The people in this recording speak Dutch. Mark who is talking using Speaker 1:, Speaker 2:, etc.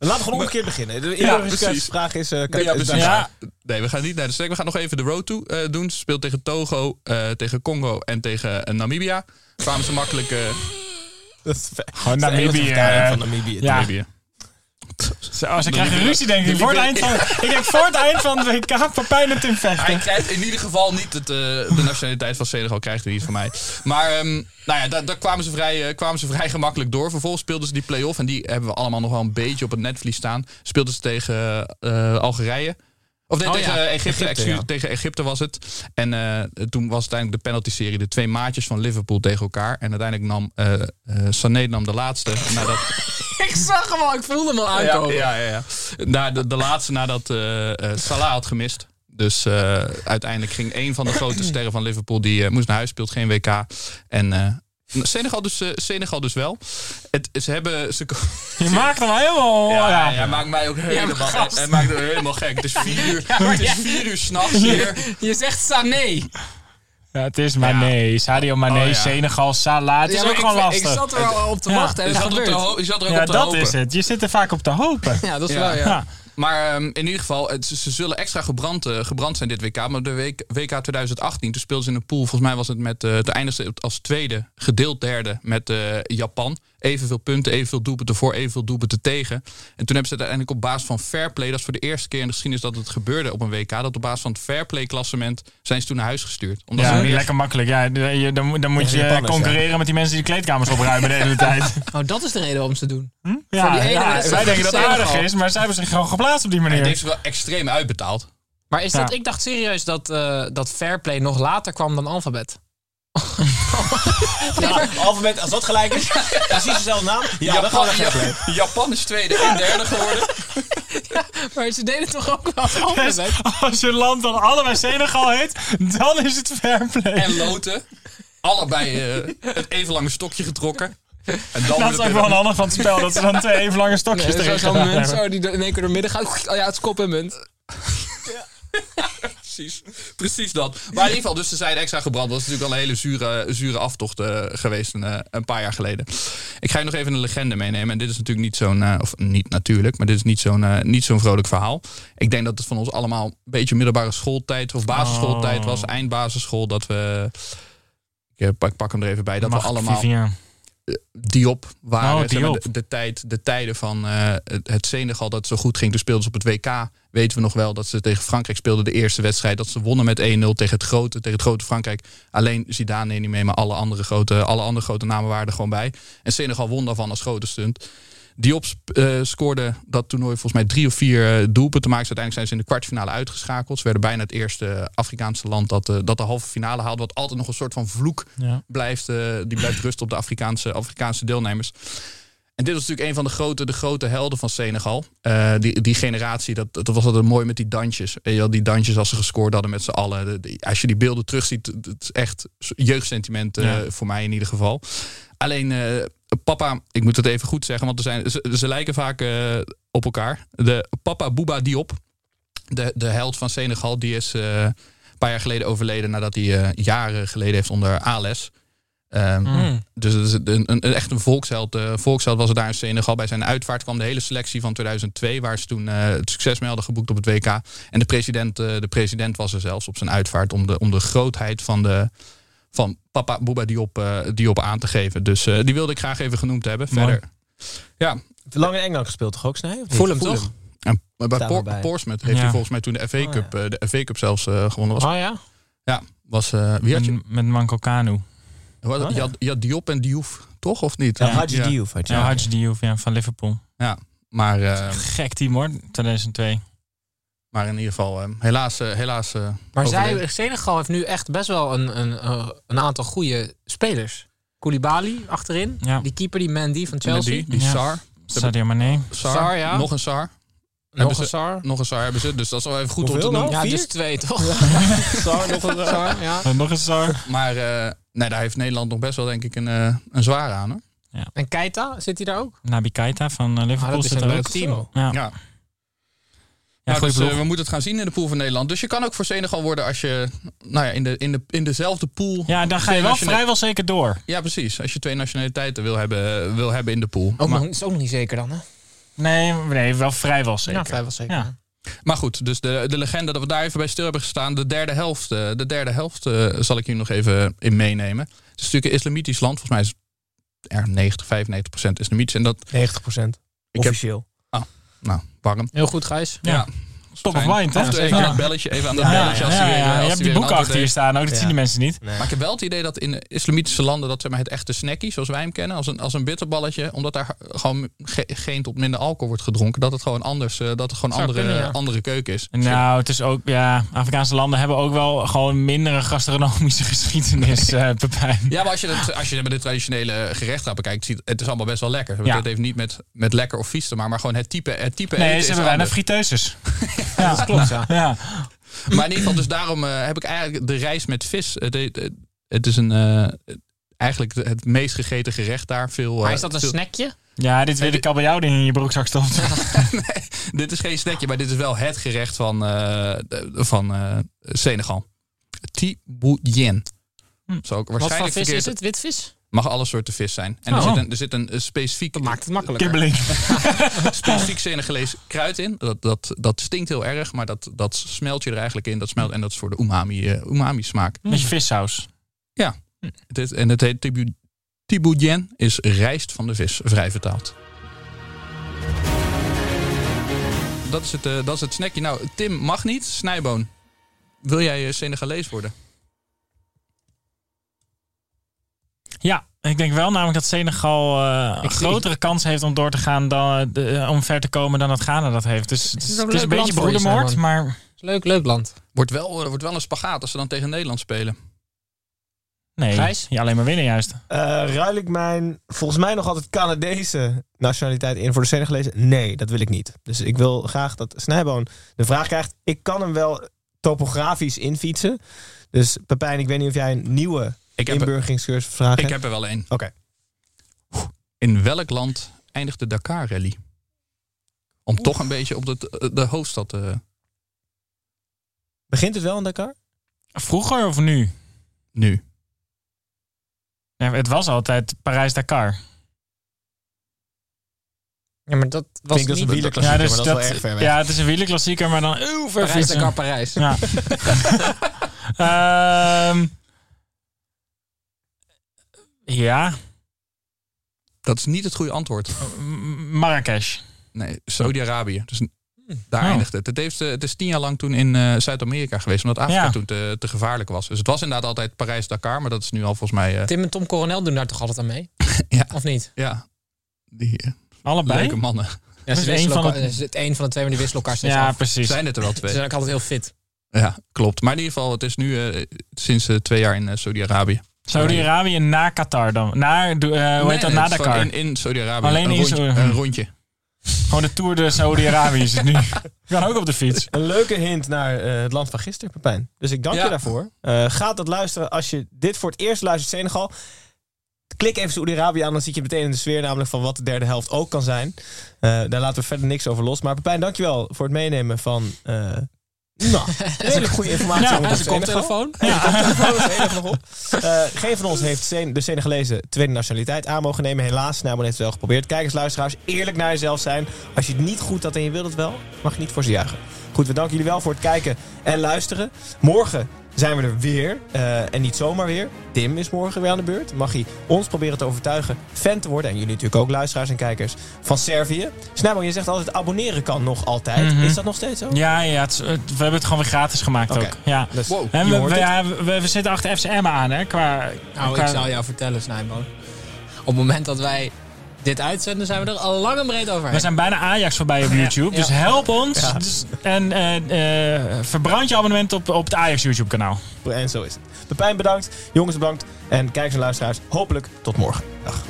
Speaker 1: Laten we gewoon omgekeerd beginnen. De
Speaker 2: precies.
Speaker 1: vraag is... eh,
Speaker 2: Ja, precies.
Speaker 1: Dakar.
Speaker 3: Ja.
Speaker 2: Nee, we gaan niet naar de snack. We gaan nog even de road to eh, doen. Ze speelt tegen Togo, eh, tegen Congo en tegen eh, Namibia. Kwamen ze makkelijk... eh
Speaker 1: Dat is ver-
Speaker 3: Gewoon
Speaker 1: dat is de Engelse
Speaker 3: Namibië.
Speaker 1: vertaling
Speaker 3: eh,
Speaker 1: van Namibië.
Speaker 3: Ja.
Speaker 2: Namibia.
Speaker 3: Zo, ze krijgen ruzie denk ik. Voor het eind van, ik denk voor het eind van het WK Papijn en Tim
Speaker 2: Hij
Speaker 3: vechten.
Speaker 2: krijgt in ieder geval niet het, eh, de nationaliteit van Senegal. Krijgt hij niet van mij. Maar ehm, nou ja, daar, daar kwamen, ze vrij, eh, kwamen ze vrij gemakkelijk door. Vervolgens speelden ze die play-off. En die hebben we allemaal nog wel een beetje op het netvlies staan. Speelden ze tegen eh, Algerije. Of nee,
Speaker 4: Oh
Speaker 2: tegen,
Speaker 4: ja,
Speaker 2: Egypte,
Speaker 4: Egypte,
Speaker 2: excuus,
Speaker 4: ja.
Speaker 2: tegen Egypte was het. En eh, toen was uiteindelijk de penalty-serie de twee maatjes van Liverpool tegen elkaar. En uiteindelijk nam eh eh, Sané nam de laatste. Nadat,
Speaker 4: Ik zag hem al, ik voelde hem al
Speaker 2: ja,
Speaker 4: aankomen.
Speaker 2: ja, ja, ja. Na, de, de laatste nadat eh, eh, Salah had gemist. Dus eh, uiteindelijk ging een van de grote sterren van Liverpool, die eh, moest naar huis, speelt geen WK. En eh, Senegal, dus, eh, Senegal dus wel. Het, ze hebben... Ze, ko-
Speaker 3: Je maakt hem helemaal... Ja,
Speaker 2: ja, hij maakt mij ook
Speaker 4: maar
Speaker 2: helemaal,
Speaker 4: gast.
Speaker 2: hij maakt me helemaal gek. Het is vier uur,
Speaker 4: Ja, maar
Speaker 2: het is
Speaker 4: jij-
Speaker 2: vier uur s'nachts hier.
Speaker 4: Je zegt Sané.
Speaker 3: Ja, het is Mané. Sadio Mané,
Speaker 2: Oh, ja.
Speaker 3: Senegal, Salah. Het is
Speaker 4: Ja, maar
Speaker 3: ook gewoon
Speaker 4: Dus ik,
Speaker 3: lastig.
Speaker 4: Ik zat er al op te wachten. en
Speaker 2: Je
Speaker 4: het
Speaker 2: zat, op
Speaker 4: gebeurt.
Speaker 2: te ho- je zat er ook
Speaker 3: ja,
Speaker 2: op te
Speaker 3: dat
Speaker 2: hopen.
Speaker 3: is het. Je zit er vaak op te hopen.
Speaker 4: Ja, dat is
Speaker 2: Ja.
Speaker 4: wel, ja.
Speaker 3: Ja.
Speaker 2: Maar ehm, in ieder geval, het- ze, ze zullen extra gebrand, eh, gebrand zijn dit WK. Maar de WK, WK 2018, toen speelden ze in een pool. Volgens mij was het met eh de eindigste als tweede, gedeeld derde met eh, Japan. Evenveel punten, evenveel doelpunten voor, evenveel doelpunten tegen. En toen hebben ze het uiteindelijk op basis van fair play... dat is voor de eerste keer in de geschiedenis dat het gebeurde op een WK... dat op basis van het fair play klassement zijn ze toen naar huis gestuurd. Omdat
Speaker 3: Ja,
Speaker 2: ze
Speaker 3: niet
Speaker 2: meer-
Speaker 3: lekker makkelijk. Ja, de- je- dan, moet- dan moet
Speaker 1: Tegen
Speaker 3: je
Speaker 1: Japanners,
Speaker 3: concurreren met die mensen die de kleedkamers opruimen de hele tijd.
Speaker 4: Oh, dat is de reden om ze te doen.
Speaker 3: Ja,
Speaker 4: die ene
Speaker 3: ja,
Speaker 4: wedstrijd
Speaker 3: wij denken dat het
Speaker 4: tegen
Speaker 3: aardig
Speaker 4: Senegal.
Speaker 3: is, maar zij hebben zich gewoon geplaatst op die
Speaker 2: en het
Speaker 3: manier.
Speaker 2: heeft ze wel extreem uitbetaald.
Speaker 4: Maar is dat,
Speaker 3: Ja.
Speaker 4: ik dacht serieus dat, eh dat Fairplay nog later kwam dan Alphabet.
Speaker 1: Alfabet, als dat gelijk is, precies dezelfde naam. Ja, dan gaan we naar Fairplay.
Speaker 2: Japan is tweede en derde geworden.
Speaker 4: Maar ze deden toch ook wel Alphabet?
Speaker 3: Dus als je land dan allebei Senegal heet, dan is het fair play.
Speaker 2: en Loten. Allebei eh, het even lange stokje getrokken. En dan
Speaker 3: dat
Speaker 2: wordt
Speaker 3: is
Speaker 2: het
Speaker 3: ook
Speaker 2: weer-
Speaker 3: wel een ander van het spel, dat ze dan twee even lange stokjes
Speaker 4: Nee, zo-
Speaker 3: tegen
Speaker 4: Zo'n
Speaker 3: gedaan
Speaker 4: munt
Speaker 3: hebben.
Speaker 4: zo, die door- in één keer door midden gaat. Oh ja, het is kop en munt.
Speaker 2: Precies, precies dat. Maar in ieder geval, dus ze zijn extra gebrand. Dat is natuurlijk al een hele zure, zure aftocht eh, geweest een, eh, een paar jaar geleden. Ik ga je nog even een legende meenemen. En dit is natuurlijk niet zo'n, eh, of niet natuurlijk, maar dit is niet zo'n, eh, niet zo'n vrolijk verhaal. Ik denk dat het van ons allemaal een beetje middelbare schooltijd of
Speaker 3: Oh.
Speaker 2: basisschooltijd was. Eindbasisschool, dat we... Ik eh, pak, pak hem er even bij. Dat
Speaker 3: Mag
Speaker 2: we allemaal...
Speaker 3: Vivian.
Speaker 2: Diop waren.
Speaker 3: Oh,
Speaker 2: zeg maar,
Speaker 3: Diop.
Speaker 2: De, de tijd, de tijden van eh, het- het Senegal dat het zo goed ging. Toen speelden ze op het WK. Weten we nog wel dat ze tegen Frankrijk speelden. De eerste wedstrijd dat ze wonnen met 1-0 tegen het grote, tegen het grote Frankrijk. Alleen Zidane deed niet mee, maar alle andere, grote, alle andere grote namen waren er gewoon bij. En Senegal won daarvan als grote stunt. Diop sp- eh, scoorde dat toernooi volgens mij drie of vier eh, doelpunten maakte. Uiteindelijk zijn ze in de kwartfinale uitgeschakeld. Ze werden bijna het eerste Afrikaanse land dat, eh, dat de halve finale haalde. Wat altijd nog een soort van vloek
Speaker 3: Ja.
Speaker 2: blijft, eh, die blijft rusten op de Afrikaanse, Afrikaanse deelnemers. En dit was natuurlijk een van de grote, de grote helden van Senegal. Eh, die, die generatie, dat, dat was altijd mooi met die dansjes. Weet je wel, die dansjes als ze gescoord hadden met z'n allen. De- de- als je die beelden terugziet, het het is echt jeugdsentiment eh,
Speaker 3: Ja.
Speaker 2: voor mij in ieder geval. Alleen eh, papa, ik moet het even goed zeggen, want er zijn, ze, ze lijken vaak eh, op elkaar. De papa Bouba Diop, de, de held van Senegal, die is eh, een paar jaar geleden overleden nadat hij eh, jaren geleden heeft onder ALS. Ehm, Dus het is een, een, een- echt een volksheld. eh, volksheld was er daar in Senegal. Bij zijn uitvaart kwam de hele selectie van 2002, waar ze toen eh, het succes mee hadden geboekt op het WK. En de president, eh, de president was er zelfs op zijn uitvaart om de, om de grootheid van, de, van papa Bouba Diop, eh, Diop aan te geven. Dus eh, die wilde ik graag even genoemd hebben.
Speaker 3: Mooi.
Speaker 2: Verder. Ja,
Speaker 1: Lang in Engeland gespeeld toch ook, Snij?
Speaker 4: Voel hem toch?
Speaker 2: en bij
Speaker 1: Daar
Speaker 2: Por-
Speaker 1: bij.
Speaker 2: Portsmouth heeft
Speaker 3: Ja.
Speaker 2: hij volgens mij toen de FA
Speaker 1: Oh,
Speaker 2: Cup, eh, de FA Cup zelfs eh, gewonnen.
Speaker 1: Ah.
Speaker 2: Was,
Speaker 4: Oh ja.
Speaker 2: Ja, was, eh, wie had je?
Speaker 3: Met, met Manco Kanu.
Speaker 2: Wat-
Speaker 1: Oh,
Speaker 2: je,
Speaker 1: ja.
Speaker 2: had, je had Diop en Diouf, toch of niet?
Speaker 1: Ja, Hadji
Speaker 2: Ja.
Speaker 1: Diouf had je.
Speaker 3: Ja, Hadji Diouf ja, van Liverpool.
Speaker 2: Ja, maar, eh,
Speaker 3: Gek team hoor, 2002.
Speaker 2: maar in ieder geval, eh, helaas. eh, helaas eh,
Speaker 4: Maar
Speaker 2: overleden.
Speaker 4: zij, Senegal heeft nu echt best wel een, een, eh, een aantal goede spelers. Koulibaly achterin.
Speaker 3: Ja.
Speaker 4: Die keeper, die Mandy van
Speaker 2: En
Speaker 4: Chelsea.
Speaker 2: Die, die
Speaker 3: Ja.
Speaker 2: Sar,
Speaker 3: Sadio Mané.
Speaker 2: Sar,
Speaker 4: Sar,
Speaker 1: Ah,
Speaker 4: ja.
Speaker 2: nog een Sar. Hebben
Speaker 4: Nog
Speaker 2: ze-
Speaker 4: een Sar.
Speaker 2: Nog een Sar hebben ze, dus dat is wel even goed
Speaker 1: Hoeveel
Speaker 2: om te
Speaker 1: nou?
Speaker 2: noemen.
Speaker 4: Ja,
Speaker 1: Vier?
Speaker 4: dus twee toch?
Speaker 1: Sar, nog een Sar.
Speaker 4: Sar, ja.
Speaker 3: En Nog een Sar.
Speaker 2: Maar eh, nee, daar heeft Nederland nog best wel denk ik een, eh, een zware aan. Hoor.
Speaker 4: En Keita, zit hij daar ook?
Speaker 3: Nabi Keita van eh,
Speaker 4: Ah,
Speaker 3: Liverpool
Speaker 4: dat is
Speaker 3: zit
Speaker 4: een
Speaker 3: er
Speaker 4: leuk
Speaker 3: ook.
Speaker 4: team.
Speaker 3: Ja,
Speaker 2: Ja.
Speaker 3: ja
Speaker 2: nou,
Speaker 3: goeie
Speaker 2: dus, eh,
Speaker 3: ploeg.
Speaker 2: we moeten het gaan zien in de pool van Nederland. Dus je kan ook voor Senegal worden als je nou ja, in, de, in, de, in dezelfde pool.
Speaker 3: ja, dan ga je wel
Speaker 2: nationale-
Speaker 3: vrijwel zeker door.
Speaker 2: Ja, precies. Als je twee nationaliteiten wil hebben, eh, wil hebben in de pool.
Speaker 3: Oh.
Speaker 4: Ook
Speaker 2: maar,
Speaker 4: nog, is ook nog niet zeker dan, hè?
Speaker 3: Nee, nee wel vrijwel zeker.
Speaker 4: Ja, vrijwel zeker.
Speaker 3: Ja.
Speaker 2: maar goed, dus de, de legende dat we daar even bij stil hebben gestaan. De derde helft, eh, de derde helft eh, zal ik hier nog even in meenemen. Het is natuurlijk een islamitisch land. Volgens mij is het er 90, 95 procent islamitisch. En dat,
Speaker 1: 90
Speaker 2: Ik heb-
Speaker 1: Officieel.
Speaker 2: nou, warm.
Speaker 4: Heel goed, Gijs.
Speaker 2: Ja.
Speaker 3: Top of mind, hè?
Speaker 2: Af en toe even
Speaker 3: Ja.
Speaker 2: een belletje, even aan dat
Speaker 3: Ja, ja,
Speaker 2: belletje als hij
Speaker 3: ja,
Speaker 2: weer, eh,
Speaker 3: ja.
Speaker 2: als hij weer
Speaker 3: Je hebt
Speaker 2: een
Speaker 3: die boeken
Speaker 2: antwoord
Speaker 3: achter je
Speaker 2: heeft.
Speaker 3: staan ook, dat
Speaker 1: Ja.
Speaker 3: zien de mensen niet.
Speaker 2: Maar ik heb wel het idee dat in eh, islamitische landen dat zeg maar, het echte snackie, zoals wij hem kennen, als een, als een bitterballetje, omdat daar gewoon ge- geen tot minder alcohol wordt gedronken, dat het gewoon anders, eh, dat het gewoon
Speaker 4: Zou
Speaker 2: andere,
Speaker 4: kunnen, ja.
Speaker 2: andere keuken is.
Speaker 3: Nou, het is ook, ja, Afrikaanse landen hebben ook wel gewoon mindere gastronomische geschiedenis, eh Pepijn.
Speaker 2: Ja, maar als je, het, als je het met de traditionele gerechten bekijkt, ziet, het is allemaal best wel lekker.
Speaker 3: Ja.
Speaker 2: Het heeft niet met, met lekker of vies te maken, maar gewoon het type, het type
Speaker 3: Nee,
Speaker 2: eten
Speaker 3: ze
Speaker 2: is
Speaker 3: hebben bijna
Speaker 2: anders.
Speaker 3: friteuses. ja, dat klopt, ja. ja.
Speaker 2: Maar in ieder geval, dus daarom eh, heb ik eigenlijk de rijst met vis. Het, het, het is een, eh, eigenlijk het meest gegeten gerecht daar. Veel, eh,
Speaker 4: Maar is dat een
Speaker 2: veel-
Speaker 4: snackje?
Speaker 3: Ja, dit weer de kabeljauw die in je broekzak stopt.
Speaker 2: Dit is geen snackje, maar dit is wel het gerecht van, eh, de- van eh, Senegal. Tiboujen.
Speaker 3: Hm.
Speaker 2: Zo
Speaker 4: Wat
Speaker 2: ook
Speaker 4: voor
Speaker 2: waarschijnlijk
Speaker 4: vis
Speaker 2: verkeerd-
Speaker 4: is het? Witvis?
Speaker 2: mag alle soorten vis zijn. En er
Speaker 3: Oh.
Speaker 2: zit een, er zit een eh, specifiek,
Speaker 4: Dat maakt het makkelijker.
Speaker 3: Kibbeling.
Speaker 2: specifiek Senegalees kruid in. Dat, dat, dat stinkt heel erg, maar dat, dat smelt je er eigenlijk in. Dat smelt, en dat is voor de umami, eh, umami smaak.
Speaker 4: Hm.
Speaker 3: Met je vissaus.
Speaker 2: Het heet- en het heet tibu- Tiboujen is rijst van de vis, vrij vertaald. Dat is het, eh, dat is het snackje. Nou, Tim mag niet. Snijboon, wil jij eh, Senegalees worden?
Speaker 3: Ja, ik denk wel namelijk dat Senegal eh, een
Speaker 4: Ik-
Speaker 3: grotere kans heeft om door te gaan dan eh, de- eh, om ver te komen dan dat Ghana dat heeft. Dus het
Speaker 4: is
Speaker 3: is,
Speaker 4: ook
Speaker 3: het is
Speaker 4: een
Speaker 3: een
Speaker 4: leuk land
Speaker 3: beetje
Speaker 4: voor je,
Speaker 3: broedermoord,
Speaker 4: Simon.
Speaker 3: maar
Speaker 4: Leuk, leuk land.
Speaker 2: Wordt wel, eh, wordt wel een spagaat als ze dan tegen Nederland spelen.
Speaker 3: nee,
Speaker 4: Gijs?
Speaker 3: Ja, alleen maar winnen juist.
Speaker 1: Eh, ruil ik mijn, volgens mij nog altijd Canadese nationaliteit in voor de Senegalese? Nee, dat wil ik niet. Dus ik wil graag dat Snijboon de vraag krijgt. Ik kan hem wel topografisch infietsen. Dus Pepijn, ik weet niet of jij een nieuwe
Speaker 2: Ik heb, er-
Speaker 1: inburgingscursus vraagt.
Speaker 2: ik heb er wel één.
Speaker 1: Oké.
Speaker 2: In welk land eindigt de Dakar-rally? Om toch een beetje op de, de hoofdstad eh, te...
Speaker 1: Begint het wel in Dakar?
Speaker 3: Vroeger of nu?
Speaker 2: Nu.
Speaker 3: Ja, het was altijd Parijs-Dakar.
Speaker 4: Ja, maar dat was
Speaker 1: ik dat is een
Speaker 4: niet...
Speaker 1: wielerklassieker,
Speaker 3: dus
Speaker 1: maar dat is wel erg ver weg.
Speaker 3: ja, het is een wielerklassieker, maar dan heel ver
Speaker 4: Parijs,
Speaker 3: fietsen.
Speaker 4: Dakar, Parijs.
Speaker 3: Ja. Ehm, ja,
Speaker 2: Dat is niet het goede antwoord.
Speaker 3: M- Marrakesh.
Speaker 2: Nee, Saudi-Arabië. Dus daar
Speaker 3: Oh.
Speaker 2: eindigt het. Het, heeft, eh, het is tien jaar lang toen in eh, Zuid-Amerika geweest, omdat Afrika
Speaker 3: Ja.
Speaker 2: toen te, te gevaarlijk was. Dus het was inderdaad altijd Parijs-Dakar, maar dat is nu al volgens mij. eh,
Speaker 4: Tim en Tom Coronel doen daar toch altijd aan mee?
Speaker 2: Ja.
Speaker 4: Of niet?
Speaker 2: ja, die eh,
Speaker 3: Allebei?
Speaker 2: leuke mannen.
Speaker 4: Ja,
Speaker 3: is
Speaker 4: ze wisselen
Speaker 3: één van
Speaker 4: elkaar-
Speaker 3: de-
Speaker 4: eh, ze- het een van de twee, maar die wisselen elkaar steeds
Speaker 3: ja,
Speaker 4: af. Dus
Speaker 3: precies.
Speaker 2: Zijn het er wel
Speaker 4: Ze
Speaker 2: twee?
Speaker 4: zijn ook altijd heel fit.
Speaker 2: Ja, klopt. Maar in ieder geval, het is nu eh, sinds eh, twee jaar in eh, Saudi-Arabië.
Speaker 3: Saudi-Arabië na Qatar dan. Naar, doe- eh, hoe
Speaker 2: Nee,
Speaker 3: heet dat?
Speaker 2: nee,
Speaker 3: na
Speaker 2: het is
Speaker 3: Dakar.
Speaker 2: gewoon In, in Saudi-Arabië.
Speaker 3: Alleen
Speaker 2: een,
Speaker 3: in
Speaker 2: rondje,
Speaker 3: Saudi-
Speaker 2: een rondje.
Speaker 3: Gewoon de Tour de Saudi-Arabië is het nu. We gaan ook op de fiets.
Speaker 1: Een leuke hint naar eh, het land van gisteren, Pepijn. Dus ik dank
Speaker 2: Ja.
Speaker 1: je daarvoor. Eh, ga dat luisteren als je dit voor het eerst luistert, Senegal. Klik even Saoedi-Arabië aan, dan zit je meteen in de sfeer namelijk van wat de derde helft ook kan zijn. Eh, daar laten we verder niks over los. Maar Pepijn, dankjewel voor het meenemen van... eh nou, redelijk goede informatie
Speaker 3: Ja,
Speaker 1: over
Speaker 4: Hij is een
Speaker 1: Senegal.
Speaker 4: koptelefoon.
Speaker 1: Volgens mij nog nog op. Eh, geen van ons heeft Sen- de Senegalese tweede nationaliteit aan mogen nemen. Helaas, Snijboon heeft het wel geprobeerd. Kijkers, luisteraars, eerlijk naar jezelf zijn. Als je het niet goed had en je wilt het wel, mag je niet voor ze juichen. Goed, we danken jullie wel voor het kijken en luisteren. Morgen zijn we er weer. eh, en niet zomaar weer. Tim is morgen weer aan de beurt. Mag hij ons proberen te overtuigen fan te worden. En jullie natuurlijk ook, luisteraars en kijkers van Servië. Snijboon, je zegt altijd abonneren kan nog altijd.
Speaker 3: Mhm.
Speaker 1: Is dat nog steeds zo?
Speaker 3: Ja, ja het is- het- we hebben het gewoon weer gratis gemaakt
Speaker 1: Oké.
Speaker 3: ook. Ja.
Speaker 1: Dus,
Speaker 2: Wow.
Speaker 3: En
Speaker 1: je
Speaker 3: we,
Speaker 1: hoort
Speaker 3: we,
Speaker 1: het.
Speaker 3: ja, we, we zitten achter FCM aan, hè? Qua,
Speaker 4: Nou,
Speaker 3: qua-
Speaker 4: ik zou jou vertellen, Snijboon. Op het moment dat wij dit uitzenden, zijn we er al lang en breed over.
Speaker 3: We zijn bijna Ajax voorbij op YouTube,
Speaker 4: ja.
Speaker 3: dus help ons. Dus- en eh, eh, verbrand je abonnement op, op het Ajax YouTube kanaal.
Speaker 1: En zo is het. Pepijn bedankt, jongens bedankt en kijkers en luisteraars hopelijk tot morgen. Dag.